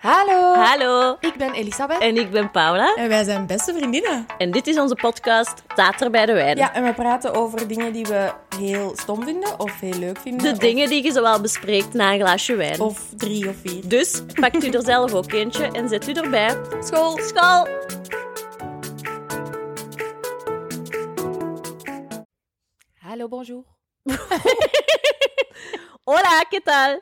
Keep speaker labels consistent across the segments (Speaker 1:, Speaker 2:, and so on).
Speaker 1: Hallo.
Speaker 2: Hallo,
Speaker 1: Ik ben Elisabeth.
Speaker 2: en ik ben Paula.
Speaker 1: En wij zijn beste vriendinnen.
Speaker 2: En dit is onze podcast Tater bij de Wijn.
Speaker 1: Ja, en we praten over dingen die we heel stom vinden of heel leuk vinden.
Speaker 2: De
Speaker 1: of-
Speaker 2: dingen die je zowel bespreekt na een glaasje wijn.
Speaker 3: Oh.
Speaker 1: Of drie of vier.
Speaker 2: Dus pakt u er zelf ook eentje en zet u erbij.
Speaker 1: School.
Speaker 2: School!
Speaker 1: Hallo, bonjour.
Speaker 2: Hola, ¿qué tal?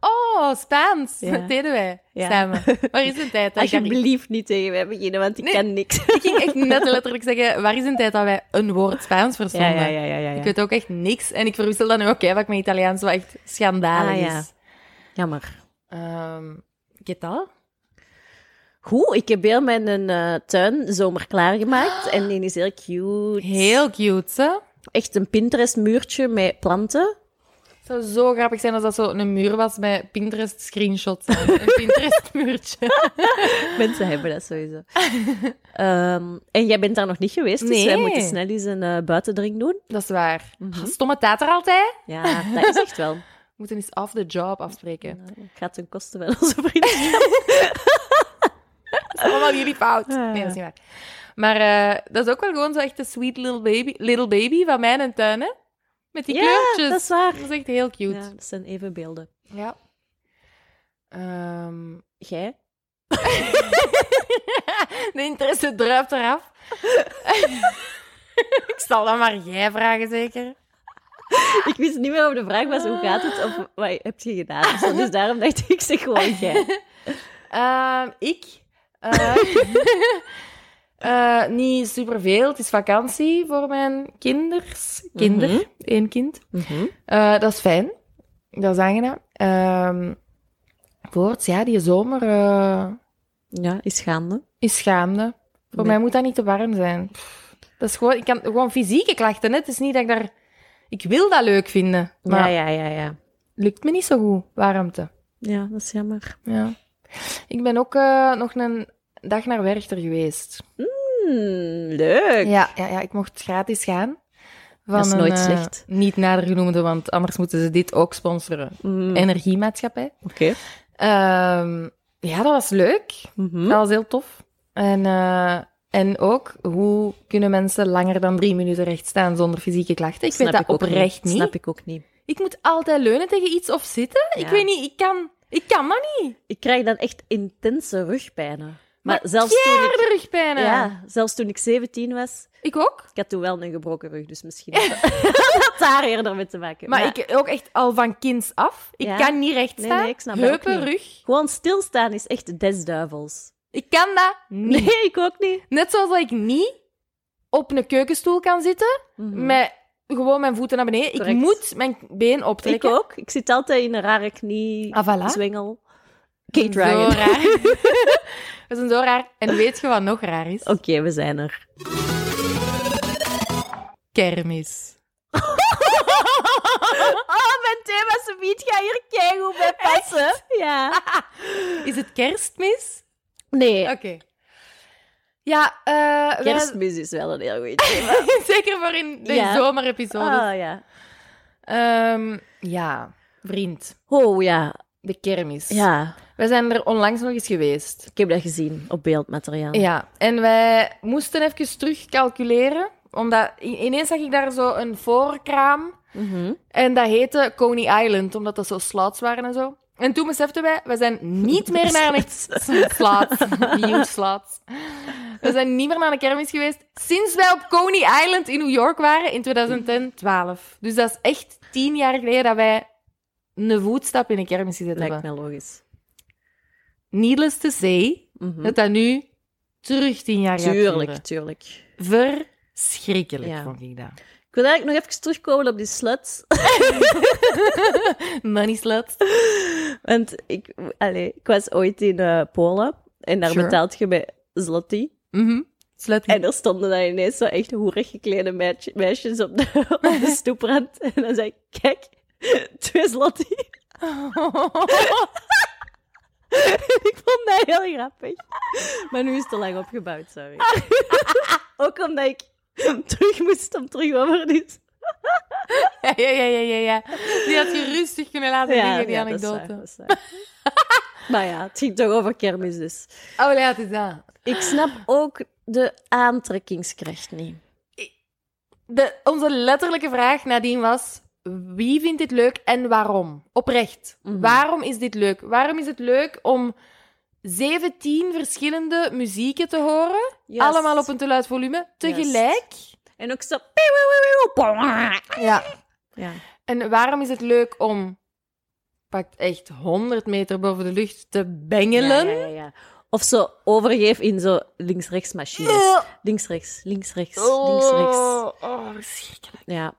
Speaker 3: Oh, Spaans.
Speaker 1: Ja.
Speaker 3: Dat deden wij
Speaker 2: Ja.
Speaker 3: samen. Waar is de tijd? Dat ik, daar-
Speaker 2: Alsjeblieft niet tegen mij beginnen, want ik
Speaker 3: Nee.
Speaker 2: kan niks.
Speaker 3: ik ging echt net letterlijk zeggen, waar is de tijd dat wij een woord Spaans verstonden?
Speaker 2: ja. ja,
Speaker 3: Ik weet ook echt niks. En ik verwissel dat nu ook vaak met Italiaans, wat echt schandalig
Speaker 2: Ah, ja.
Speaker 3: is.
Speaker 2: Jammer.
Speaker 3: Ehm, ¿Qué tal?
Speaker 2: Goed, ik heb heel mijn eh, tuin zomer klaargemaakt en die is heel cute.
Speaker 3: Heel cute, hè?
Speaker 2: Echt een Pinterest-muurtje met planten.
Speaker 3: Het zou zo grappig zijn als dat zo een muur was met Pinterest-screenshots. aan. Een Pinterest-muurtje.
Speaker 2: Mensen hebben dat sowieso. Ehm, en jij bent daar nog niet geweest, dus
Speaker 3: Nee.
Speaker 2: wij moeten snel eens een eh, buitendrink doen.
Speaker 3: dat is waar.
Speaker 2: Mhm.
Speaker 3: Stomme tijd er altijd.
Speaker 2: Ja, dat is echt wel.
Speaker 3: We moeten eens af de job afspreken.
Speaker 2: Gaat ten koste van onze vrienden.
Speaker 3: allemaal jullie fout. Nee, dat is niet waar. Maar eh, dat is ook wel gewoon zo echt de sweet little baby, little baby van mijn en tuin, hè? Met die
Speaker 2: Ja,
Speaker 3: kleurtjes.
Speaker 2: dat is waar.
Speaker 3: Dat is echt heel cute.
Speaker 2: Ja, dat zijn even beelden.
Speaker 3: Ja. Ehm,
Speaker 2: Jij?
Speaker 3: de interesse druipt eraf. Ik zal dan maar jij vragen, zeker.
Speaker 2: Ik wist niet meer of de vraag was, hoe gaat het? Of wat heb je gedaan? of zo. Dus daarom dacht ik, zeg gewoon jij.
Speaker 3: Ehm, ik? Eh, eh, niet superveel. Het is vakantie voor mijn kinders. Kinder,
Speaker 2: Mhm.
Speaker 3: één kind. Eh, dat is fijn. Dat is aangenaam. Ehm voorts, ja, die zomer eh,
Speaker 2: Ja, is gaande.
Speaker 3: is gaande. Voor
Speaker 2: Nee.
Speaker 3: mij moet dat niet te warm zijn. Pff, Dat is gewoon, ik kan gewoon fysieke klachten. Hè. Het is niet dat ik daar... Ik wil dat leuk vinden, maar
Speaker 2: Ja, ja, ja, ja.
Speaker 3: lukt me niet zo goed, warmte.
Speaker 2: Ja, dat is jammer.
Speaker 3: Ja. Ik ben ook eh, nog een dag naar Werchter geweest.
Speaker 2: Hmm, leuk.
Speaker 3: Ja, ja, ja, ik mocht gratis gaan. Van
Speaker 2: Dat is nooit
Speaker 3: een, eh,
Speaker 2: slecht.
Speaker 3: Niet nader genoemde, want anders moeten ze dit ook sponsoren.
Speaker 2: Mm,
Speaker 3: Energiemaatschappij.
Speaker 2: Oké.
Speaker 3: Ehm, ja, dat was leuk.
Speaker 2: Mhm.
Speaker 3: Dat was heel tof. En, eh, en ook, hoe kunnen mensen langer dan drie minuten recht staan zonder fysieke klachten? Ik
Speaker 2: Snap
Speaker 3: weet dat
Speaker 2: ook
Speaker 3: oprecht niet.
Speaker 2: Snap ik ook niet.
Speaker 3: Ik moet altijd leunen tegen iets of zitten.
Speaker 2: Ja.
Speaker 3: Ik weet niet, ik kan, ik kan dat niet.
Speaker 2: Ik krijg dan echt intense rugpijnen. Maar,
Speaker 3: Maar
Speaker 2: zelfs toen ik...
Speaker 3: Harde rugpijnen.
Speaker 2: Ja, zelfs toen ik 17 was,
Speaker 3: Ik ook.
Speaker 2: ik had toen wel een gebroken rug, dus misschien had dat daar eerder mee te maken.
Speaker 3: Maar ik ook echt al van kinds af. Ik
Speaker 2: Ja.
Speaker 3: kan niet recht
Speaker 2: Nee,
Speaker 3: staan.
Speaker 2: nee, ik snap dat ook
Speaker 3: Heupen,
Speaker 2: niet.
Speaker 3: rug.
Speaker 2: Gewoon stilstaan is echt des duivels.
Speaker 3: Ik kan dat niet.
Speaker 2: Nee, ik ook niet.
Speaker 3: Net zoals dat ik niet op een keukenstoel kan zitten
Speaker 2: Mhm.
Speaker 3: met gewoon mijn voeten naar beneden.
Speaker 2: Correct.
Speaker 3: Ik moet mijn been
Speaker 2: Ik
Speaker 3: optrekken.
Speaker 2: ook. Ik zit altijd in een rare knie,
Speaker 3: Ah, voilà.
Speaker 2: zwengel. Kate
Speaker 3: Zo
Speaker 2: Ryan. Oké,
Speaker 3: raar. We zijn zo raar. En weet je wat nog raar is?
Speaker 2: we zijn er.
Speaker 3: Kermis.
Speaker 2: Oh, mijn thema subiet ga hier keigoed bij passen. Ja.
Speaker 3: Is het kerstmis?
Speaker 2: Nee,
Speaker 3: Oké. Ja, eh, wij-
Speaker 2: kerstmis is wel een heel goed thema.
Speaker 3: zeker voor in de
Speaker 2: Ja.
Speaker 3: zomerepisode.
Speaker 2: Oh ja.
Speaker 3: Ehm, ja, vriend.
Speaker 2: Oh ja,
Speaker 3: De kermis.
Speaker 2: ja.
Speaker 3: Wij zijn er onlangs nog eens geweest.
Speaker 2: Ik heb dat gezien op beeldmateriaal.
Speaker 3: Ja, en wij moesten even terugcalculeren. Omdat i- ineens zag ik daar zo een voorkraam.
Speaker 2: Mhm.
Speaker 3: En dat heette Coney Island, omdat dat zo slots waren en zo. En toen beseften wij, we zijn niet meer naar een slots. Nieuw slots. We zijn niet meer naar een kermis geweest sinds wij op Coney Island in New York waren in 2012. Dus dat is echt tien jaar geleden dat wij een voetstap in een kermis gezet
Speaker 2: Lijkt
Speaker 3: hebben.
Speaker 2: mij logisch.
Speaker 3: Needless to say,
Speaker 2: Mhm.
Speaker 3: dat dat nu terug tien jaar gaat
Speaker 2: Tuurlijk,
Speaker 3: duren.
Speaker 2: tuurlijk.
Speaker 3: Verschrikkelijk,
Speaker 2: Ja.
Speaker 3: vond ik dat.
Speaker 2: Ik wil eigenlijk nog even terugkomen op die sluts.
Speaker 3: Money sluts.
Speaker 2: Want ik, allee, ik was ooit in eh, Polen en daar
Speaker 3: Sure.
Speaker 2: betaalt je met zloty.
Speaker 3: Mhm. Slut.
Speaker 2: En er stonden dan ineens zo echt hoerig geklede meidje- meisjes op de, op de stoeprand. En dan zei ik, kijk, twee zloty. Ik vond dat heel grappig. Maar nu is het te lang opgebouwd, sorry. Ook omdat ik terug moest om terug over die...
Speaker 3: Ja, ja, ja, ja, ja, ja. Die had je rustig kunnen laten liggen, die
Speaker 2: dat is waar,
Speaker 3: anekdote.
Speaker 2: dat is waar. Maar ja, het ging toch over kermis dus.
Speaker 3: Oh ja, het is dat.
Speaker 2: Ik snap ook de aantrekkingskracht niet.
Speaker 3: De, onze letterlijke vraag nadien was: wie vindt dit leuk en waarom? Oprecht.
Speaker 2: Mhm.
Speaker 3: Waarom is dit leuk? Waarom is het leuk om 17 verschillende muzieken te horen? Allemaal op een te luid volume tegelijk?
Speaker 2: En ook zo...
Speaker 3: Ja.
Speaker 2: Ja.
Speaker 3: En waarom is het leuk om pakt echt 100 meter boven de lucht te bengelen?
Speaker 2: Ja, ja, ja, ja. Of zo overgeef in zo links-rechts machines. Links-rechts, links-rechts, links-rechts.
Speaker 3: Eh. Oh, oh, verschrikkelijk.
Speaker 2: Ja.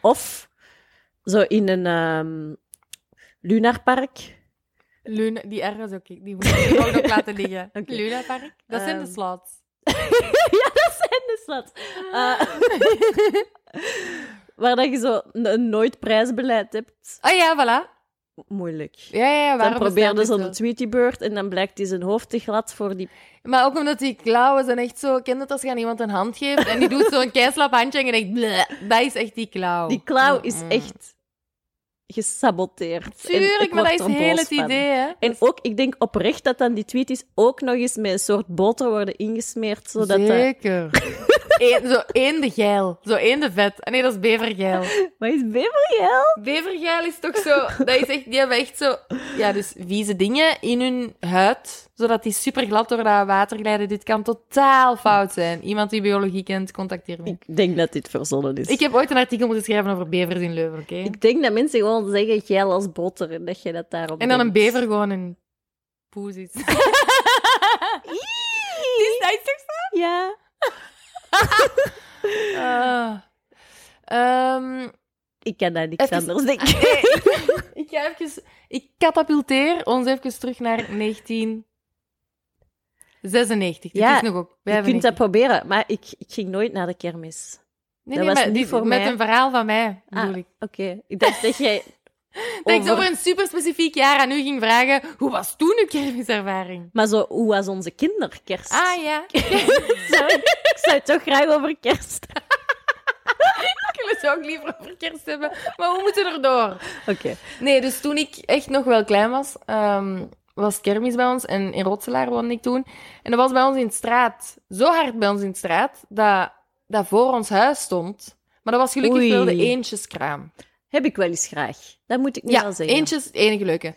Speaker 2: Of zo in een ehm lunarpark.
Speaker 3: Luna, die R is ook ik. Die moet ik ook nog laten liggen.
Speaker 2: Oké.
Speaker 3: Luna Park. Dat zijn de
Speaker 2: Ehm,
Speaker 3: slots.
Speaker 2: ja, dat zijn de slot. Eh. waar dat je zo n- een nooit prijsbeleid hebt.
Speaker 3: Oh ja, voilà.
Speaker 2: Moeilijk.
Speaker 3: Ja, ja, ja.
Speaker 2: dan
Speaker 3: waarom
Speaker 2: probeerde ze
Speaker 3: bestaat
Speaker 2: op de
Speaker 3: dit
Speaker 2: Tweetiebeurt en dan blijkt hij zijn hoofd te glad voor die...
Speaker 3: zo? Maar ook omdat die klauwen zijn echt zo... Ken je dat als je aan iemand een hand geeft en die doet zo'n keislap handje en je denkt... "Bleh." dat is echt die klauw.
Speaker 2: Die klauw is
Speaker 3: Mm-mm.
Speaker 2: echt gesaboteerd. en
Speaker 3: mm. Tuurlijk,
Speaker 2: ik
Speaker 3: maar
Speaker 2: word
Speaker 3: dat is
Speaker 2: er
Speaker 3: heel
Speaker 2: boos
Speaker 3: het
Speaker 2: van.
Speaker 3: idee, hè.
Speaker 2: En ook, ik denk oprecht dat dan die tweeties ook nog eens met een soort boter worden ingesmeerd, zodat dat...
Speaker 3: Zeker. Eén- zo één de geil. Zo één de vet. Ah, Nee, dat is bevergeil.
Speaker 2: Maar is bevergeel?
Speaker 3: Bevergeil is toch zo... Dat is echt, die hebben echt zo... Ja, dus vieze dingen in hun huid, zodat die super glad door dat water glijden. Dit kan totaal fout zijn. Iemand die biologie kent, contacteer me.
Speaker 2: Ik denk dat dit verzonnen is.
Speaker 3: Ik heb ooit een artikel moeten schrijven over bevers in Leuven, oké?
Speaker 2: Ik denk dat mensen gewoon zeggen geil als boter en dat je dat daarop
Speaker 3: En dan een
Speaker 2: denkt.
Speaker 3: bever gewoon een poes is. is dat is toch zo?
Speaker 2: Ja.
Speaker 3: Ah. Ehm,
Speaker 2: Ik kan daar niks
Speaker 3: Even-
Speaker 2: anders denken.
Speaker 3: ik ga even... Ik katapulteer ons even terug naar 1996.
Speaker 2: Ja,
Speaker 3: Ja, is nog ook.
Speaker 2: Je kunt
Speaker 3: 95.
Speaker 2: dat proberen, maar ik, ik ging nooit naar de kermis.
Speaker 3: Nee,
Speaker 2: dat
Speaker 3: nee,
Speaker 2: was
Speaker 3: maar
Speaker 2: niet
Speaker 3: dit-
Speaker 2: voor
Speaker 3: met
Speaker 2: mij.
Speaker 3: een verhaal van mij,
Speaker 2: Ah,
Speaker 3: bedoel ik.
Speaker 2: Oké, ik dacht dat jij...
Speaker 3: Dat ik zo
Speaker 2: over-
Speaker 3: over een super specifiek jaar aan u ging vragen, hoe was toen uw kermiservaring?
Speaker 2: Maar zo, hoe was onze kinderkerst?
Speaker 3: Ah ja,
Speaker 2: Sorry, ik zou het toch graag over kerst...
Speaker 3: ik wil het ook liever over kerst hebben, maar hoe moeten we erdoor?
Speaker 2: Oké.
Speaker 3: Nee, dus toen ik echt nog wel klein was, ehm, was kermis bij ons. En in Rotselaar woonde ik toen. En dat was bij ons in de straat. Zo hard bij ons in de straat, dat, dat voor ons huis stond. Maar dat was gelukkig
Speaker 2: Oei.
Speaker 3: wel de eentjeskraam.
Speaker 2: Heb ik wel eens graag. Dat moet ik niet
Speaker 3: Ja,
Speaker 2: wel zeggen.
Speaker 3: eentjes, het enige leuke.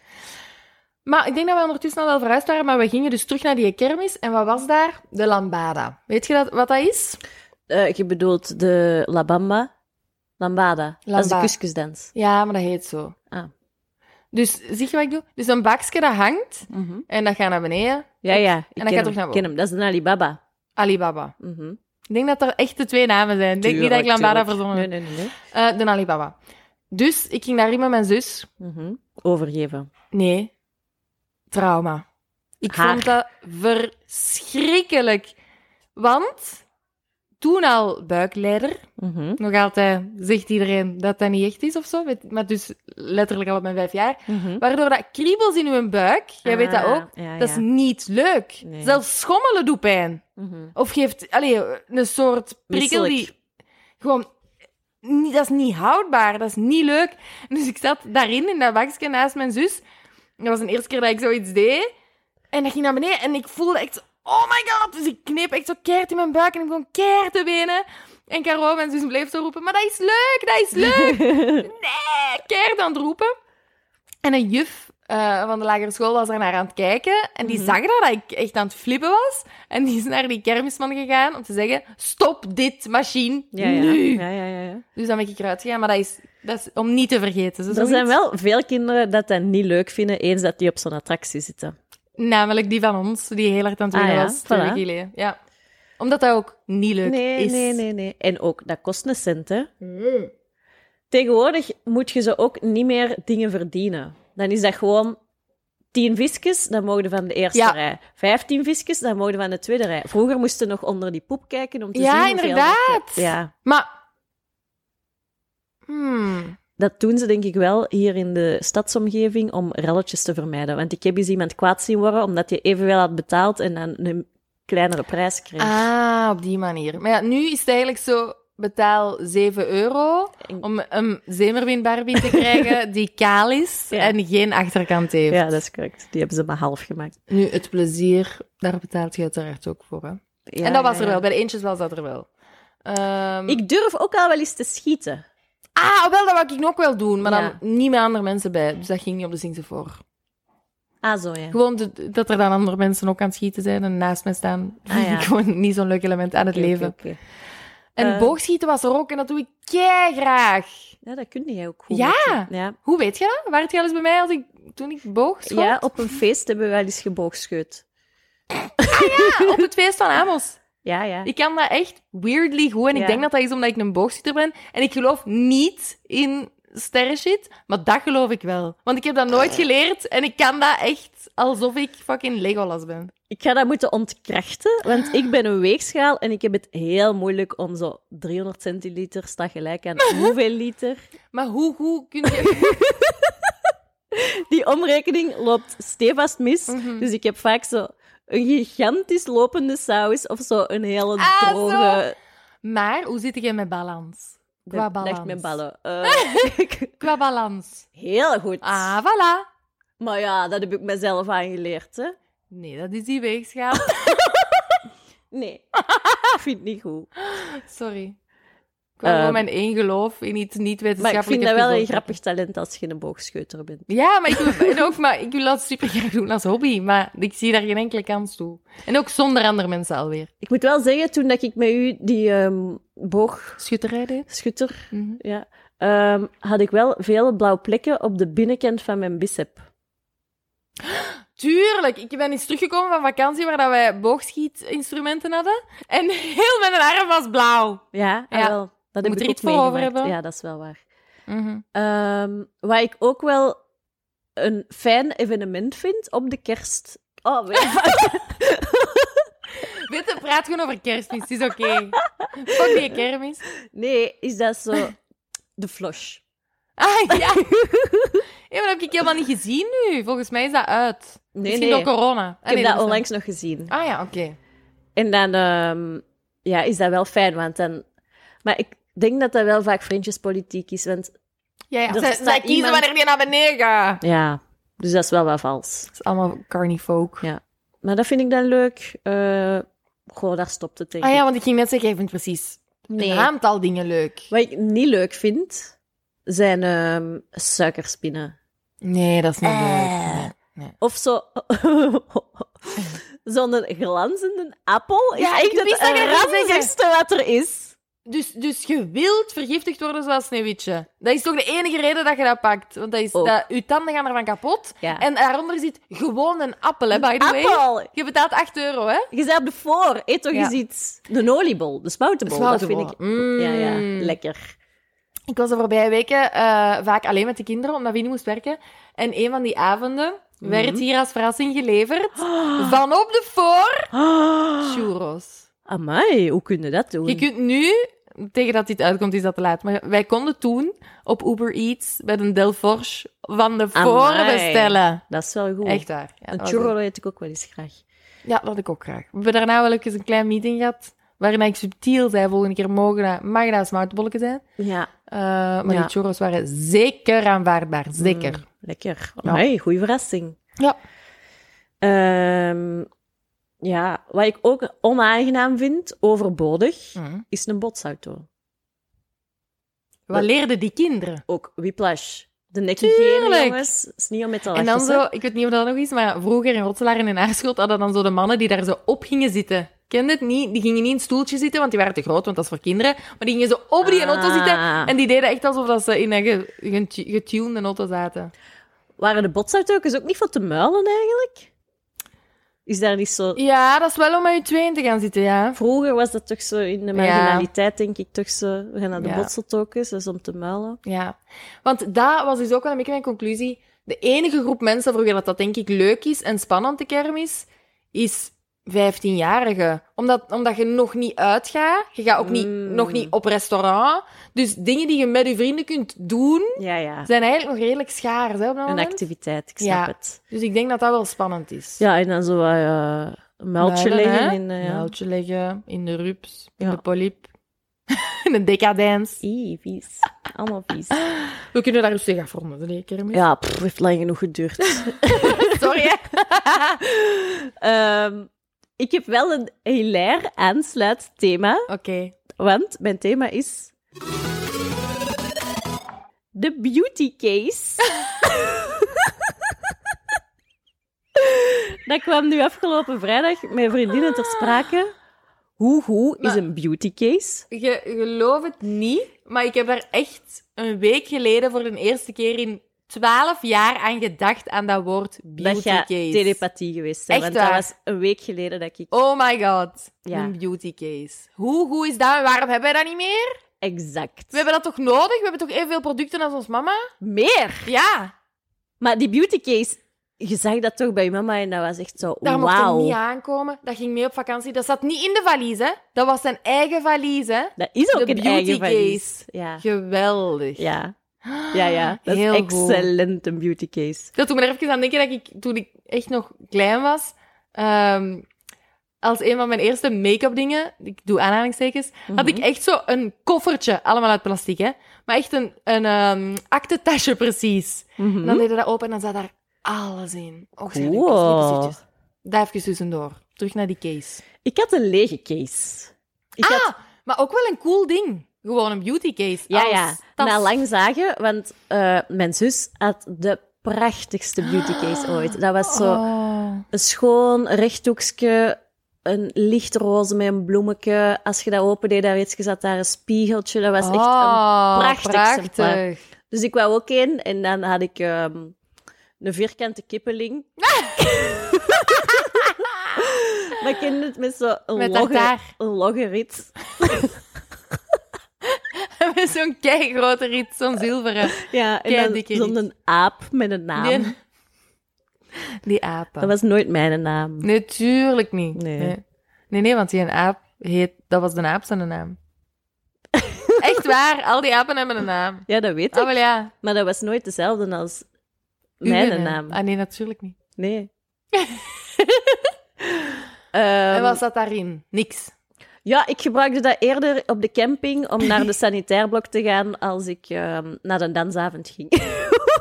Speaker 3: Maar ik denk dat we ondertussen al wel verhuisd waren, maar we gingen dus terug naar die kermis. En wat was daar? De lambada. Weet je dat, wat dat is?
Speaker 2: Eh, je bedoelt de La Bamba? Lambada. Dat is de
Speaker 3: Lamba.
Speaker 2: kuskusdans.
Speaker 3: Ja, maar dat heet zo.
Speaker 2: Ah.
Speaker 3: Dus, zie je wat ik doe? Dus een bakje dat hangt, en dat gaat naar beneden.
Speaker 2: Ja, ja. Ik
Speaker 3: dan
Speaker 2: ken
Speaker 3: gaat
Speaker 2: hem.
Speaker 3: terug naar
Speaker 2: Ik ken hem. Dat is de Alibaba.
Speaker 3: Alibaba.
Speaker 2: Mhm.
Speaker 3: Ik denk dat er echt de twee namen zijn. Ik denk niet dat ik Lambada verzonnen
Speaker 2: Nee,
Speaker 3: heb.
Speaker 2: nee, nee. nee.
Speaker 3: Eh, de Alibaba. Dus ik ging daarin met mijn zus.
Speaker 2: Mhm. Overgeven.
Speaker 3: Nee, trauma. Ik
Speaker 2: Haar.
Speaker 3: vond dat verschrikkelijk. Want toen al buikleider,
Speaker 2: Mhm.
Speaker 3: nog altijd zegt iedereen dat dat niet echt is of zo. weet- Maar dus letterlijk al op mijn vijf jaar.
Speaker 2: Mhm.
Speaker 3: Waardoor dat kriebels in uw buik, jij weet dat
Speaker 2: Ah,
Speaker 3: ook,
Speaker 2: ja,
Speaker 3: dat is
Speaker 2: ja.
Speaker 3: niet leuk.
Speaker 2: Nee.
Speaker 3: Zelfs schommelen doet pijn.
Speaker 2: Mhm.
Speaker 3: Of geeft allee, een soort prikkel
Speaker 2: Misselijk.
Speaker 3: die... Gewoon, niet, dat is niet houdbaar, dat is niet leuk. Dus ik zat daarin, in dat bakje naast mijn zus. Dat was de eerste keer dat ik zoiets deed. En dat ging naar beneden en ik voelde echt... zo, Oh my god! Dus ik kneep echt zo keihard in mijn buik en ik begon keihard te wenen. En Caro, mijn zus, bleef zo roepen... Maar dat is leuk, dat is leuk! nee, keer dan roepen. En een juf eh, van de lagere school was er naar aan het kijken. En
Speaker 2: Mhm.
Speaker 3: die zag dat, dat ik echt aan het flippen was. En die is naar die kermisman gegaan om te zeggen: Stop dit machine
Speaker 2: Ja, ja.
Speaker 3: nu.
Speaker 2: ja, ja, ja, ja.
Speaker 3: Dus dan ben ik eruit gegaan, maar dat is, dat is om niet te vergeten. Zo
Speaker 2: Er zijn
Speaker 3: zoiets.
Speaker 2: wel veel kinderen dat dat niet leuk vinden eens dat die op zo'n attractie zitten.
Speaker 3: Namelijk die van ons, die heel hard aan het winnen
Speaker 2: Ah, ja,
Speaker 3: was. Twee
Speaker 2: voilà.
Speaker 3: weken geleden. Ja. Omdat dat ook niet leuk
Speaker 2: Nee,
Speaker 3: is. Mm.
Speaker 2: nee, nee, nee. En ook, dat kost een cent, hè. Tegenwoordig moet je ze ook niet meer dingen verdienen. Dan is dat gewoon... 10 visjes, dan mogen van de eerste
Speaker 3: Ja.
Speaker 2: rij. 15 visjes, dan mogen van de tweede rij. Vroeger moesten we nog onder die poep kijken om te
Speaker 3: Ja,
Speaker 2: zien hoeveel
Speaker 3: inderdaad.
Speaker 2: dat je- Ja,
Speaker 3: Maar. Hmm.
Speaker 2: dat doen ze denk ik wel hier in de stadsomgeving om relletjes te vermijden. Want ik heb eens iemand kwaad zien worden omdat je evenwel had betaald en dan een kleinere prijs kreeg.
Speaker 3: Ah, op die manier. Maar ja, nu is het eigenlijk zo. betaal 7 euro
Speaker 2: En-
Speaker 3: om een zeemerwinbarbie te krijgen die kaal is
Speaker 2: Ja.
Speaker 3: en geen achterkant heeft.
Speaker 2: Ja, dat is correct. Die hebben ze maar half gemaakt.
Speaker 3: Nu, het plezier, daar betaalt je uiteraard ook voor. Hè?
Speaker 2: Ja,
Speaker 3: en dat was
Speaker 2: ja,
Speaker 3: er
Speaker 2: ja.
Speaker 3: wel, bij de eentjes was dat er wel. Ehm,
Speaker 2: Ik durf ook al wel eens te schieten.
Speaker 3: Ah, wel, dat wou ik ook wel doen, maar
Speaker 2: Ja.
Speaker 3: dan niet met andere mensen bij. Dus dat ging niet op de zingse voor.
Speaker 2: Ah, zo ja.
Speaker 3: Gewoon de- dat er dan andere mensen ook aan het schieten zijn en naast me staan.
Speaker 2: Ah, ja.
Speaker 3: Vind ik gewoon niet zo'n leuk element aan het
Speaker 2: Oké,
Speaker 3: leven.
Speaker 2: oké, oké.
Speaker 3: En
Speaker 2: Eh.
Speaker 3: boogschieten was er ook en dat doe ik kei graag.
Speaker 2: Ja, dat kun jij ook goed.
Speaker 3: Ja!
Speaker 2: met je- Ja.
Speaker 3: Hoe weet je dat? Waren het al eens bij mij als ik, toen ik boog schoot?
Speaker 2: ja, op een feest hebben we wel eens geboogscheut.
Speaker 3: Ah, op het feest van Amos.
Speaker 2: Ja, ja.
Speaker 3: Ik kan dat echt weirdly goed. En
Speaker 2: Ja.
Speaker 3: ik denk dat dat is omdat ik een boogschieter ben. En ik geloof niet in sterrenshit, maar dat geloof ik wel. Want ik heb dat nooit geleerd en ik kan dat echt alsof ik fucking Legolas ben.
Speaker 2: Ik ga dat moeten ontkrachten, want ik ben een weegschaal en ik heb het heel moeilijk om zo 300 centiliter staat gelijk aan hoeveel liter.
Speaker 3: Maar hoe goed kun je...
Speaker 2: Die omrekening loopt stevast mis,
Speaker 3: Mhm.
Speaker 2: dus ik heb vaak zo een gigantisch lopende saus of zo een hele
Speaker 3: Ah, zo.
Speaker 2: droge...
Speaker 3: maar hoe zit je met balans? Qua
Speaker 2: Dat
Speaker 3: balans.
Speaker 2: legt mijn ballen. Eh,
Speaker 3: Qua balans.
Speaker 2: heel goed.
Speaker 3: Ah, voilà.
Speaker 2: Maar ja, dat heb ik mezelf aangeleerd, hè.
Speaker 3: Nee, dat is die weegschaal.
Speaker 2: Nee, ik vind het niet goed.
Speaker 3: Sorry. Ik wou
Speaker 2: Ehm,
Speaker 3: gewoon mijn één geloof in iets
Speaker 2: Maar ik
Speaker 3: niet-wetenschappelijk.
Speaker 2: vind dat wel een grappig talent als je een boogscheuter bent.
Speaker 3: Ja, maar ik, wil, en ook, maar ik wil dat super graag doen als hobby. Maar ik zie daar geen enkele kans toe. En ook zonder andere mensen alweer.
Speaker 2: Ik moet wel zeggen, toen dat ik met u die ehm boogschutter...
Speaker 3: Schutterij deed. Mhm.
Speaker 2: Ja. Ehm, had ik wel veel blauwe plekken op de binnenkant van mijn bicep.
Speaker 3: Tuurlijk. Ik ben eens teruggekomen van vakantie waar dat wij boogschietinstrumenten hadden. En heel mijn arm was blauw.
Speaker 2: Ja, ah,
Speaker 3: Ja.
Speaker 2: wel. Dat heb
Speaker 3: Moet
Speaker 2: ik
Speaker 3: er
Speaker 2: ook
Speaker 3: iets voor over
Speaker 2: meegemaakt.
Speaker 3: hebben.
Speaker 2: Ja, dat is wel waar. Ehm wat ik ook wel een fijn evenement vind op de kerst. Oh, weet je wat?
Speaker 3: Weet je, praat gewoon over kerstmis. Het is oké. Fuck die kermis.
Speaker 2: nee, is dat zo de flosh.
Speaker 3: Ah, ja. Ja, maar dat heb ik helemaal niet gezien nu. Volgens mij is dat uit.
Speaker 2: Nee,
Speaker 3: Misschien
Speaker 2: nee.
Speaker 3: door corona. Ah,
Speaker 2: Ik heb
Speaker 3: nee,
Speaker 2: dat
Speaker 3: is
Speaker 2: onlangs nog gezien.
Speaker 3: Ah ja, oké.
Speaker 2: En dan ehm, ja, is dat wel fijn, want dan... Maar ik denk dat dat wel vaak vriendjespolitiek is, want
Speaker 3: Ja, ja.
Speaker 2: Er
Speaker 3: Zij,
Speaker 2: staat
Speaker 3: zij kiezen
Speaker 2: iemand-
Speaker 3: wanneer die naar beneden gaat.
Speaker 2: ja, dus dat is wel wat vals.
Speaker 3: Het is allemaal carnifolk.
Speaker 2: Maar dat vind ik dan leuk. Eh goh, daar stopt het denk ik.
Speaker 3: Ah ja, want ik ging net zeggen, ik vind precies
Speaker 2: nee.
Speaker 3: een aantal dingen leuk.
Speaker 2: Wat ik niet leuk vind, zijn ehm, suikerspinnen.
Speaker 3: Nee, dat is niet
Speaker 2: Eh.
Speaker 3: leuk. Nee.
Speaker 2: Of zo... Zo'n glanzende appel is
Speaker 3: Ja, ik
Speaker 2: echt het
Speaker 3: wist dat je dat ging zeggen.
Speaker 2: ranzigste wat er is.
Speaker 3: Dus, dus je wilt vergiftigd worden zoals Sneeuwwitje. Dat is toch de enige reden dat je dat pakt. Want dat is
Speaker 2: Ook.
Speaker 3: dat, je tanden gaan ervan kapot.
Speaker 2: Ja.
Speaker 3: En daaronder zit gewoon een appel, hè, by the way.
Speaker 2: Appel!
Speaker 3: Je betaalt 8 euro, hè?
Speaker 2: Je zei op de voor, eet toch
Speaker 3: Ja.
Speaker 2: eens iets. De oliebol, de smoutebol, dat vind ik...
Speaker 3: Mm.
Speaker 2: Ja, ja, lekker.
Speaker 3: Ik was de voorbije weken eh, vaak alleen met de kinderen, omdat Winnie moest werken. En een van die avonden werd hier als verrassing geleverd. Van op de voor churros.
Speaker 2: Amai, hoe kun je dat doen?
Speaker 3: Ah. Je kunt nu, tegen dat dit uitkomt, is dat te laat. Maar wij konden toen op Uber Eats bij een Delforge van de voren
Speaker 2: Amai.
Speaker 3: bestellen.
Speaker 2: Dat is wel goed.
Speaker 3: Echt waar. Ja, oh, dat
Speaker 2: Een
Speaker 3: was
Speaker 2: churro eet ik ook wel eens graag.
Speaker 3: het. Ja, dat had ik ook graag. We hebben daarna wel eens een klein meeting gehad. Waarin ik subtiel zei: volgende keer mogen dat, mag dat smaakbolken zijn.
Speaker 2: Ja,
Speaker 3: Eh, maar
Speaker 2: Ja.
Speaker 3: die churros waren zeker aanvaardbaar. Zeker.
Speaker 2: lekker.
Speaker 3: Mm, Ja.
Speaker 2: Amai, goede verrassing.
Speaker 3: Ja.
Speaker 2: Ehm, ja, wat ik ook onaangenaam vind, overbodig,
Speaker 3: Mm.
Speaker 2: is een botsauto.
Speaker 3: Wat leerden die kinderen?
Speaker 2: Ook whiplash. De nekken geven,
Speaker 3: Tuurlijk.
Speaker 2: jongens. is niet om met te lachen.
Speaker 3: En dan
Speaker 2: hè.
Speaker 3: zo, ik weet niet of dat nog is, maar vroeger in Rotselaar en in Aarschot hadden dan zo de mannen die daar zo op gingen zitten. Kende het niet? Die gingen niet in een stoeltje zitten, want die waren te groot, want dat is voor kinderen. Maar die gingen zo op die auto
Speaker 2: Ah.
Speaker 3: zitten en die deden echt alsof dat ze in een ge- ge- getunede auto zaten.
Speaker 2: Waren de botsauto's ook niet van te muilen, eigenlijk? Is daar niet zo...
Speaker 3: Ja, dat is wel om met je tweeën te gaan zitten, ja.
Speaker 2: Vroeger was dat toch zo in de marginaliteit, denk ik, toch zo. We gaan naar de
Speaker 3: Ja.
Speaker 2: botsauto's, dat is om te muilen.
Speaker 3: Ja, want dat was dus ook wel een beetje mijn conclusie. De enige groep mensen voor wie dat, dat denk ik leuk is en spannend de kermis, is 15-jarigen. Omdat, omdat je nog niet uitgaat, je gaat ook niet,
Speaker 2: Mm.
Speaker 3: nog niet op restaurant. Dus dingen die je met je vrienden kunt doen,
Speaker 2: Ja, ja.
Speaker 3: zijn eigenlijk nog redelijk schaars hè, op dat
Speaker 2: Een
Speaker 3: moment.
Speaker 2: activiteit, ik snap
Speaker 3: Ja.
Speaker 2: het.
Speaker 3: Dus ik denk dat dat wel spannend is.
Speaker 2: Ja, en dan zo wat, eh, een muiltje
Speaker 3: Muilen,
Speaker 2: leggen.
Speaker 3: hè?
Speaker 2: in, eh, ja.
Speaker 3: Muiltje leggen, in de rups, in
Speaker 2: Ja.
Speaker 3: de polyp. in de decadence.
Speaker 2: Ie, vies. Allemaal vies.
Speaker 3: We kunnen daar rustig afronden, de nee, kermis.
Speaker 2: Ja, pff, heeft lang genoeg geduurd.
Speaker 3: Sorry, hè.
Speaker 2: Ehm, ik heb wel een hilair aansluit thema,
Speaker 3: Oké.
Speaker 2: want mijn thema is... De beauty case. Dat kwam nu afgelopen vrijdag met vriendinnen ter sprake. Hoe goed is
Speaker 3: Maar-
Speaker 2: een beauty case?
Speaker 3: Je gelooft het niet, maar ik heb daar echt een week geleden voor de eerste keer in 12 jaar aan gedacht aan dat woord beauty
Speaker 2: dat gaat
Speaker 3: case.
Speaker 2: telepathie geweest zijn,
Speaker 3: Echt
Speaker 2: want
Speaker 3: waar.
Speaker 2: dat was een week geleden dat ik...
Speaker 3: Oh my god,
Speaker 2: Ja.
Speaker 3: een beauty case. Hoe goed is dat en waarom hebben wij dat niet meer?
Speaker 2: Exact.
Speaker 3: We hebben dat toch nodig? We hebben toch evenveel producten als ons mama?
Speaker 2: Meer!
Speaker 3: Ja,
Speaker 2: Maar die beauty case, je zag dat toch bij je mama en dat was echt zo,
Speaker 3: daar mocht hij niet
Speaker 2: wauw.
Speaker 3: aankomen. Dat ging mee op vakantie. Dat zat niet in de valies, hè. Dat was zijn eigen valies, hè.
Speaker 2: Dat is ook
Speaker 3: De
Speaker 2: een eigen
Speaker 3: beauty
Speaker 2: valies.
Speaker 3: case.
Speaker 2: Ja.
Speaker 3: Geweldig.
Speaker 2: ja, ja, ja. Dat
Speaker 3: Ah, Heel
Speaker 2: is
Speaker 3: goed.
Speaker 2: excellent, een beauty case.
Speaker 3: Dat doet me er even aan denken dat ik, toen ik echt nog klein was, ehm, als een van mijn eerste make-up dingen, ik doe aanhalingstekens, had
Speaker 2: Mhm.
Speaker 3: ik echt zo een koffertje, allemaal uit plastic, hè. Maar echt een, een ehm aktentasje precies. En
Speaker 2: Nou, Mhm.
Speaker 3: dan deden we dat open en dan zat daar alles in. Och, zijn
Speaker 2: Cool.
Speaker 3: Daar even tussendoor. Terug naar die case.
Speaker 2: Ik had een lege case. Ik had
Speaker 3: Ah, maar ook wel een cool ding. Gewoon een beauty case.
Speaker 2: Ja,
Speaker 3: Als
Speaker 2: ja.
Speaker 3: tas.
Speaker 2: Na lang zagen, want eh, mijn zus had de prachtigste beauty case ooit. Dat was zo
Speaker 3: Ah. Oh.
Speaker 2: een schoon rechthoekje, een lichtroze met een bloemetje. Als je dat opendeed, daar iets, zat daar een spiegeltje. Dat was echt een...
Speaker 3: Oh,
Speaker 2: prachtig exemplaar.
Speaker 3: prachtig.
Speaker 2: Dus ik wou ook één. En dan had ik ehm, een vierkante kippeling. Maar kende het met zo'n
Speaker 3: Met
Speaker 2: logge,
Speaker 3: tartaar.
Speaker 2: een logge rit.
Speaker 3: Met zo'n keigrote riet, zo'n zilveren.
Speaker 2: Ja, en dan
Speaker 3: Keidikke rit.
Speaker 2: zo'n aap met een naam.
Speaker 3: Die, die apen.
Speaker 2: Dat was nooit mijn naam.
Speaker 3: Nee, tuurlijk niet.
Speaker 2: Nee.
Speaker 3: nee. Nee, nee, want die een aap heet... Dat was de aap zijn naam. Echt waar, al die apen hebben een naam.
Speaker 2: Ja, dat weet
Speaker 3: Ah,
Speaker 2: ik.
Speaker 3: wel ja.
Speaker 2: Maar dat was nooit dezelfde als
Speaker 3: uw
Speaker 2: mijn naam.
Speaker 3: Ah, nee, natuurlijk niet.
Speaker 2: Nee.
Speaker 3: en
Speaker 2: Ehm,
Speaker 3: wat zat daarin? Niks.
Speaker 2: Ja, ik gebruikte dat eerder op de camping om naar de sanitair blok te gaan als ik ehm, naar de dansavond ging.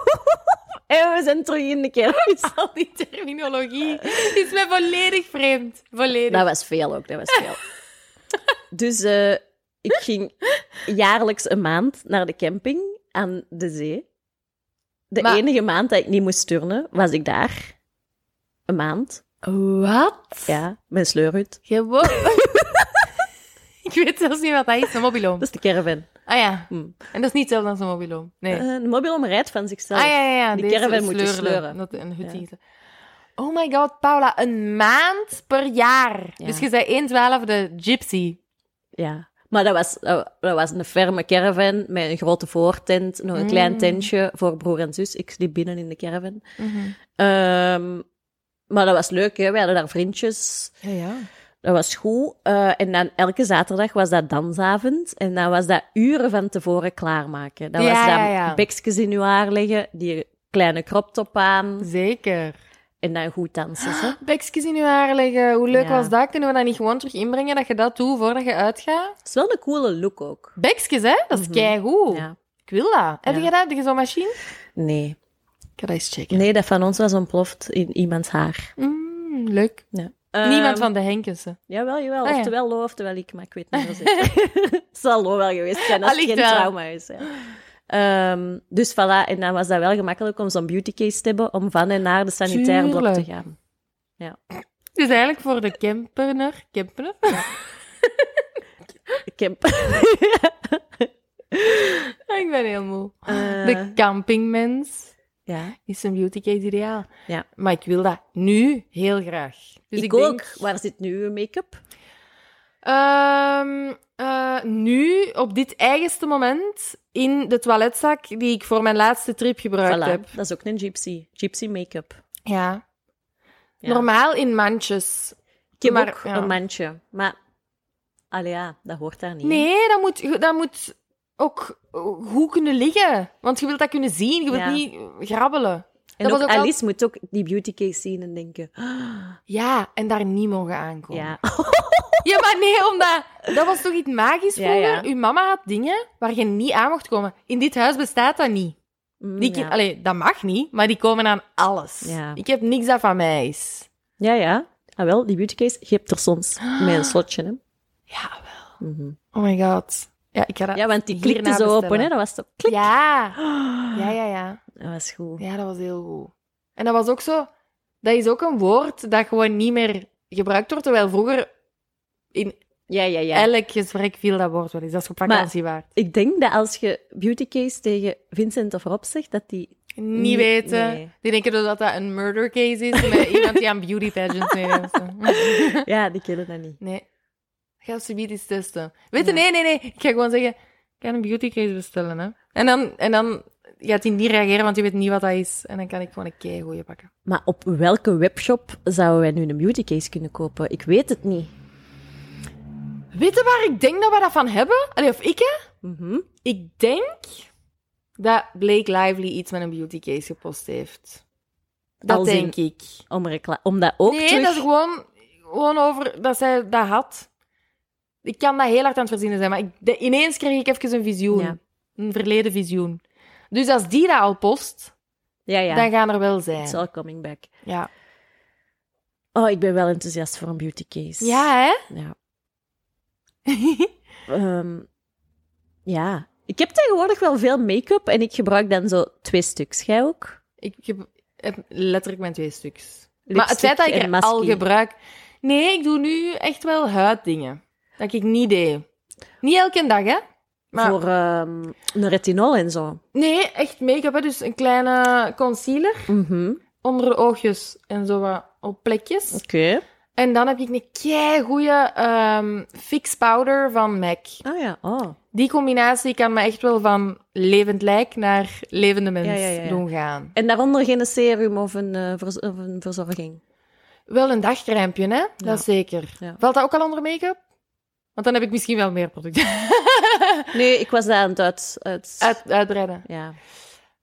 Speaker 2: en we zijn terug in de kermis.
Speaker 3: Al die terminologie is mij volledig vreemd. Volledig.
Speaker 2: Dat was veel ook, dat was veel. dus eh, ik ging jaarlijks een maand naar de camping aan de zee. De
Speaker 3: Maar-
Speaker 2: enige maand dat ik niet moest turnen, was ik daar. Een maand. Nou,
Speaker 3: Wat?
Speaker 2: Ja, mijn sleurhut.
Speaker 3: Gewoon... Ik weet zelfs niet wat dat is, een mobiloom.
Speaker 2: Dat is de caravan.
Speaker 3: Ah ja,
Speaker 2: Hm.
Speaker 3: en dat is niet hetzelfde als een mobiloom. Nee.
Speaker 2: Eh, Een mobiloom rijdt van zichzelf.
Speaker 3: Ah ja, ja, ja.
Speaker 2: Die
Speaker 3: deze
Speaker 2: caravan moet je sleuren.
Speaker 3: Dat een hut
Speaker 2: Ja.
Speaker 3: is. Oh my god, Paula, een maand per jaar.
Speaker 2: Ja.
Speaker 3: Dus je zei 1 twaalfde gypsy.
Speaker 2: Ja. Maar dat was, dat dat was een ferme caravan met een grote voortent, nog een klein tentje voor broer en zus. Ik sliep binnen in de caravan.
Speaker 3: Mhm.
Speaker 2: Ehm, maar dat was leuk, hè. We hadden daar vriendjes.
Speaker 3: Ja, ja.
Speaker 2: Dat was goed. Eh, en dan elke zaterdag was dat dansavond. En dan was dat uren van tevoren klaarmaken. Dat
Speaker 3: Ja,
Speaker 2: was dan
Speaker 3: ja, ja.
Speaker 2: bekjes in uw haar leggen, die kleine crop top aan
Speaker 3: Zeker.
Speaker 2: en dan goed dansen. Zo.
Speaker 3: Bekjes in je haar leggen, hoe leuk
Speaker 2: Ja.
Speaker 3: was dat? Kunnen we dat niet gewoon terug inbrengen, dat je dat doet voordat je uitgaat? Mhm.
Speaker 2: Het is wel een coole look ook.
Speaker 3: Bekjes, hè? Dat is keigoed.
Speaker 2: Ja.
Speaker 3: Ik wil dat. Heb
Speaker 2: Ja.
Speaker 3: je dat? Heb je zo'n machine?
Speaker 2: Nee.
Speaker 3: Ik ga dat eens checken.
Speaker 2: Nee, dat van ons was ontploft in iemands haar.
Speaker 3: Mm, leuk.
Speaker 2: Ja.
Speaker 3: Niemand van de Henkensen.
Speaker 2: Ehm, Jawel, jawel.
Speaker 3: Ah, ja.
Speaker 2: Oftewel Lo, oftewel ik, maar ik weet niet meer zeker. Het zal Lo wel geweest zijn als het
Speaker 3: Allicht
Speaker 2: geen
Speaker 3: Ah, wel.
Speaker 2: trauma is. Ja. Ehm, dus voilà, en dan was dat wel gemakkelijk om zo'n beauty case te hebben om van en naar de sanitaire blok te
Speaker 3: Tuurlijk.
Speaker 2: gaan.
Speaker 3: Dus eigenlijk voor de camperner. Camperner?
Speaker 2: Ik heb...
Speaker 3: ik ben heel moe.
Speaker 2: Eh,
Speaker 3: Ah, De campingmens.
Speaker 2: ja.
Speaker 3: is een beauty case ideaal.
Speaker 2: Ja.
Speaker 3: Maar ik wil dat nu heel graag. Dus
Speaker 2: ik, ook.
Speaker 3: denk-
Speaker 2: Waar zit nu uw make-up?
Speaker 3: Ehm, eh, nu, op dit eigenste moment, in de toiletzak die ik voor mijn laatste trip gebruikt
Speaker 2: Voilà,
Speaker 3: heb.
Speaker 2: dat is ook een gypsy. Gypsy make-up.
Speaker 3: Ja.
Speaker 2: Ja.
Speaker 3: Normaal in mandjes.
Speaker 2: Ik heb
Speaker 3: Maar,
Speaker 2: ook
Speaker 3: ja.
Speaker 2: een mandje, maar... Allee, ja, dat hoort daar niet. in.
Speaker 3: Nee, dat moet, dat moet ook goed kunnen liggen. Want je wilt dat kunnen zien, je wilt
Speaker 2: Ja.
Speaker 3: niet grabbelen. Dat
Speaker 2: En ook,
Speaker 3: was ook al-
Speaker 2: Alice moet ook die beautycase zien en denken... "Ah,
Speaker 3: Ja, en daar niet mogen aankomen.
Speaker 2: Ja,
Speaker 3: Ja, maar nee, omdat... Dat was toch iets magisch
Speaker 2: Ja,
Speaker 3: vroeger?
Speaker 2: ja.
Speaker 3: Uw mama had dingen waar je niet aan mocht komen. In dit huis bestaat dat niet.
Speaker 2: Mm,
Speaker 3: Die
Speaker 2: ja.
Speaker 3: kind- Allee, dat mag niet, maar die komen aan alles.
Speaker 2: Ja.
Speaker 3: Ik heb niks dat van mij is.
Speaker 2: ja, ja. Ah, wel, die beautycase, je hebt er soms met een slotje, hè.
Speaker 3: Ja, wel.
Speaker 2: Mhm.
Speaker 3: Oh my god. Ja, ik ga dat...
Speaker 2: Ja, want die
Speaker 3: Hierna
Speaker 2: klikte zo open,
Speaker 3: bestellen.
Speaker 2: hè. Dat was zo klik.
Speaker 3: Ja. ja, ja, ja.
Speaker 2: Dat was goed.
Speaker 3: Ja, dat was heel goed. En dat was ook zo... Dat is ook een woord dat gewoon niet meer gebruikt wordt, terwijl vroeger in
Speaker 2: Ja, ja, ja.
Speaker 3: elk gesprek viel dat woord wel eens. Dat is op
Speaker 2: Maar-
Speaker 3: vakantie waard.
Speaker 2: Ik denk dat als je beautycase tegen Vincent of Rob zegt, dat die...
Speaker 3: Niet
Speaker 2: Nee,
Speaker 3: weten.
Speaker 2: nee.
Speaker 3: Die denken dat dat een murder case is met iemand die aan beauty pageants meedoet.
Speaker 2: Ja, die kennen dat niet.
Speaker 3: Nee. Ik ga ze iets testen. Weet je,
Speaker 2: Ja.
Speaker 3: nee, nee, nee. Ik ga gewoon zeggen, ik ga een beauty case bestellen. Hè. En, dan, en dan gaat hij niet reageren, want hij weet niet wat dat is. En dan kan ik gewoon een kei goeie pakken.
Speaker 2: Maar op welke webshop zouden wij nu een beautycase kunnen kopen? Ik weet het niet.
Speaker 3: Weet je waar ik denk dat we dat van hebben? Allee, of ik, hè?
Speaker 2: Mhm.
Speaker 3: Ik denk dat Blake Lively iets met een beauty case gepost heeft. Dat
Speaker 2: Als in-
Speaker 3: denk ik.
Speaker 2: Om, recla- om dat ook
Speaker 3: nee,
Speaker 2: terug...
Speaker 3: dat is gewoon, gewoon over dat zij dat had. Ik kan dat heel hard aan het verzinnen zijn, maar ik, de- ineens kreeg ik even een visioen.
Speaker 2: Ja.
Speaker 3: Een verleden visioen. Dus als die dat al post,
Speaker 2: Ja, ja.
Speaker 3: dan gaan er wel
Speaker 2: It's
Speaker 3: zijn.
Speaker 2: all coming back.
Speaker 3: Ja.
Speaker 2: Oh, ik ben wel enthousiast voor een beautycase.
Speaker 3: ja, hè?
Speaker 2: Ja. Ehm, ja. Ik heb tegenwoordig wel veel make-up en ik gebruik dan zo twee stuks. Jij ook?
Speaker 3: ik heb, heb letterlijk mijn twee stuks. maar het
Speaker 2: Lipstick
Speaker 3: feit dat ik
Speaker 2: en
Speaker 3: er
Speaker 2: mascara.
Speaker 3: al gebruik... Nee, ik doe nu echt wel huiddingen. Dat ik niet deed. Niet elke dag, hè? Maar
Speaker 2: Voor ehm, een retinol en zo.
Speaker 3: Nee, echt make-up, hè. Dus een kleine concealer.
Speaker 2: Mhm.
Speaker 3: onder de oogjes en zo wat op plekjes.
Speaker 2: Oké.
Speaker 3: En dan heb ik een kei goede fix powder van MAC.
Speaker 2: Ah ja, oh.
Speaker 3: Die combinatie kan me echt wel van levend lijk naar levende mens
Speaker 2: Ja, ja, ja, ja.
Speaker 3: doen gaan.
Speaker 2: En daaronder geen serum of een, eh, verz- of een verzorging.
Speaker 3: Wel een dagcrème, hè?
Speaker 2: Ja.
Speaker 3: Dat zeker.
Speaker 2: Ja.
Speaker 3: Valt dat ook al onder make-up? Want dan heb ik misschien wel meer producten
Speaker 2: Nee, ik was daar aan het uit... uit-
Speaker 3: uit, uitbreiden.
Speaker 2: Ja.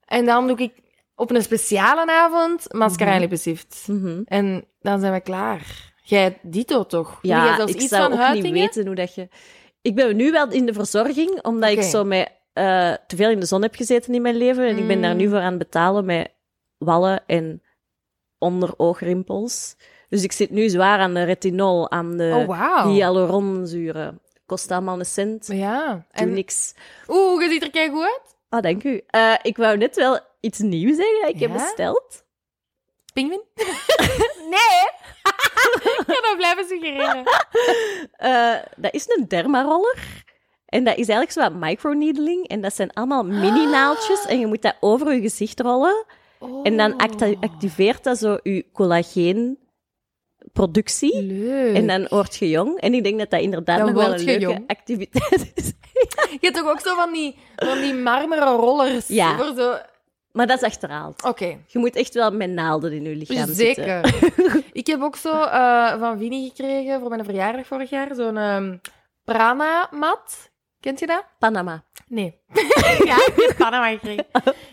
Speaker 3: En dan doe ik op een speciale avond mascara en lippenstift.
Speaker 2: Mhm.
Speaker 3: En dan zijn we klaar. Jij dito toch? Doe jij
Speaker 2: Ja,
Speaker 3: zelfs
Speaker 2: ik zou ook niet
Speaker 3: huidingen?
Speaker 2: weten hoe dat je... Ik ben nu wel in de verzorging, omdat ik
Speaker 3: Oké.
Speaker 2: zo met, eh, te veel in de zon heb gezeten in mijn leven. En ik ben daar
Speaker 3: Mm.
Speaker 2: nu voor aan het betalen met wallen en onderoogrimpels. Dus ik zit nu zwaar aan de retinol, aan de
Speaker 3: Oh, wauw.
Speaker 2: hyaluronzuren. Kost allemaal een cent,
Speaker 3: Ja.
Speaker 2: doe
Speaker 3: En
Speaker 2: niks.
Speaker 3: Oeh, je ziet er kei goed uit.
Speaker 2: Ah, dank u. Eh, ik wou net wel iets nieuws zeggen dat ik heb
Speaker 3: Ja?
Speaker 2: besteld.
Speaker 3: Pinguïn? nee. ik ga dat blijven suggereren.
Speaker 2: Eh, dat is een dermaroller. En dat is eigenlijk zo wat microneedling. En dat zijn allemaal mini-naaltjes.
Speaker 3: Ah.
Speaker 2: En je moet dat over je gezicht rollen. Oh. En
Speaker 3: Oh.
Speaker 2: dan acta- activeert dat zo je collageenproductie.
Speaker 3: Leuk.
Speaker 2: En dan word je jong. En ik denk dat dat inderdaad
Speaker 3: Dan
Speaker 2: nog wel
Speaker 3: word
Speaker 2: een
Speaker 3: je
Speaker 2: leuke
Speaker 3: jong.
Speaker 2: activiteit is.
Speaker 3: Je hebt toch ook zo van die, van die marmeren rollers?
Speaker 2: Ja.
Speaker 3: voor zo- Oké.
Speaker 2: Maar dat is achterhaald. Je moet echt wel met naalden in je lichaam zitten.
Speaker 3: Zeker. ik heb ook zo eh, van Winnie gekregen voor mijn verjaardag vorig jaar. Zo'n ehm, prana-mat. Kent je dat?
Speaker 2: Panama.
Speaker 3: Nee. ja, ik heb Panama gekregen.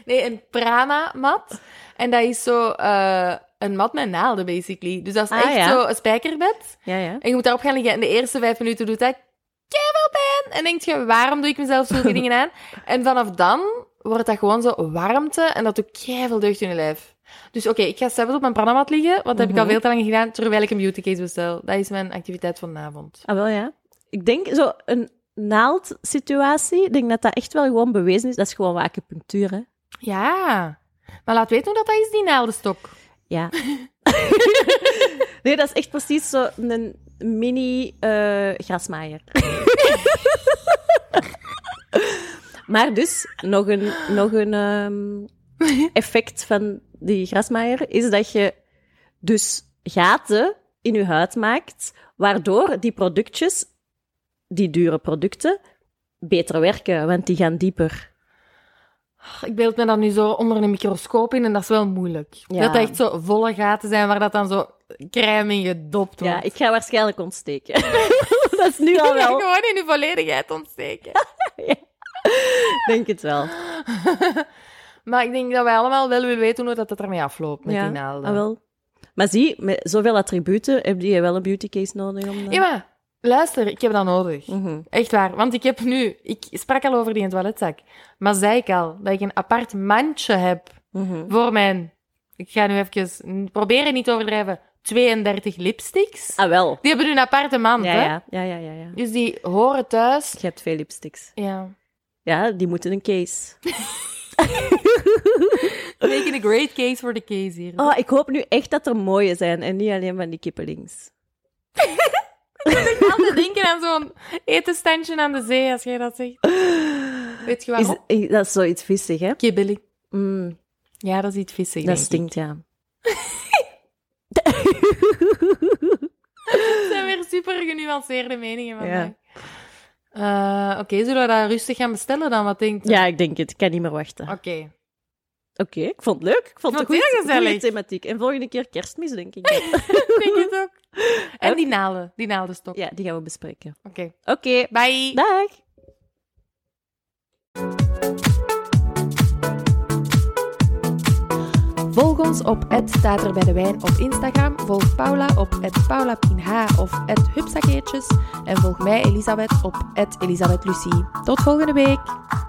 Speaker 3: Nee, een prana-mat. En dat is zo eh, een mat met naalden, basically. Dus dat is
Speaker 2: Ah,
Speaker 3: echt
Speaker 2: ja.
Speaker 3: zo een spijkerbed.
Speaker 2: Ja, ja.
Speaker 3: En je moet daarop gaan liggen. En de eerste vijf minuten doet dat keiveel pijn. En denk je, waarom doe ik mezelf zulke dingen aan? En vanaf dan wordt dat gewoon zo warmte. En dat doet keiveel deugd in je lijf. Dus oké, ik ga zelfs op mijn pranamat liggen. Want dat heb ik al
Speaker 2: Mhm.
Speaker 3: veel te lang gedaan, terwijl ik een beautycase bestel. Dat is mijn activiteit van de avond.
Speaker 2: Ah, wel ja. Ik denk zo een naaldsituatie. Ik denk dat dat echt wel gewoon bewezen is. Dat is gewoon wat acupunctuur, hè.
Speaker 3: Ja. Maar laat weten hoe dat, dat is, die naaldenstok.
Speaker 2: Ja. nee, dat is echt precies zo een mini eh, grasmaaier. maar dus, nog een, nog een ehm, effect van die grasmaaier is dat je dus gaten in je huid maakt, waardoor die productjes, die dure producten, beter werken, want die gaan dieper.
Speaker 3: Ik beeld me dat nu zo onder een microscoop in en dat is wel moeilijk.
Speaker 2: Ja.
Speaker 3: Dat dat echt zo volle gaten zijn waar dat dan zo crème in gedopt wordt.
Speaker 2: Ja, ik ga waarschijnlijk ontsteken. dat is nu al
Speaker 3: Ik ga
Speaker 2: wel.
Speaker 3: gewoon in uw volledigheid ontsteken.
Speaker 2: Denk het wel.
Speaker 3: Maar ik denk dat wij allemaal wel willen weten hoe dat het ermee afloopt met
Speaker 2: ja,
Speaker 3: die naalden.
Speaker 2: ah, wel. Maar zie, met zoveel attributen heb je wel een beauty case nodig om dat...
Speaker 3: Ja, maar luister, ik heb dat nodig.
Speaker 2: Mhm.
Speaker 3: Echt waar. Want ik heb nu... Ik sprak al over die toiletzak. Maar zei ik al dat ik een apart mandje heb
Speaker 2: Mhm.
Speaker 3: voor mijn... Ik ga nu even proberen niet te overdrijven. 32 lipsticks.
Speaker 2: Ah, wel.
Speaker 3: Die hebben nu een aparte mand,
Speaker 2: Ja,
Speaker 3: hè?
Speaker 2: ja, ja, ja, ja, ja.
Speaker 3: Dus die horen thuis.
Speaker 2: Je hebt veel lipsticks.
Speaker 3: Ja.
Speaker 2: Ja, die moeten een case.
Speaker 3: Making a great case for the case hier.
Speaker 2: Oh, ik hoop nu echt dat er mooie zijn en niet alleen van die kippenlinks.
Speaker 3: Ik altijd denken aan zo'n etenstandje aan de zee, als jij dat zegt. Weet je
Speaker 2: Is,
Speaker 3: waarom?
Speaker 2: is- dat is zoiets vissig, hè?
Speaker 3: Kibbeling.
Speaker 2: Mm,
Speaker 3: Ja, dat is iets vissig,
Speaker 2: dat
Speaker 3: denk
Speaker 2: stinkt, ja.
Speaker 3: Het zijn weer super genuanceerde meningen vandaag.
Speaker 2: Ja.
Speaker 3: Eh, Oké, zullen we dat rustig gaan bestellen dan? Wat denk je?
Speaker 2: Ja, ik denk het. Ik kan niet meer wachten.
Speaker 3: Oké.
Speaker 2: Oké, ik vond het leuk. Ik vond het
Speaker 3: vond het
Speaker 2: een
Speaker 3: heel
Speaker 2: goeie- goeie
Speaker 3: gezellig.
Speaker 2: thematiek. En volgende keer kerstmis, denk ik.
Speaker 3: Ik denk het ook. En die naalden. Die naaldenstok.
Speaker 2: ja, die gaan we bespreken.
Speaker 3: Oké.
Speaker 2: Oké,
Speaker 3: Bye.
Speaker 2: dag!
Speaker 3: Volg ons op het staat er bij de wijn op Instagram. Volg Paula op het paulapinh of het hupsakeertjes. En volg mij Elisabeth op het Elisabeth Lucie. Tot volgende week.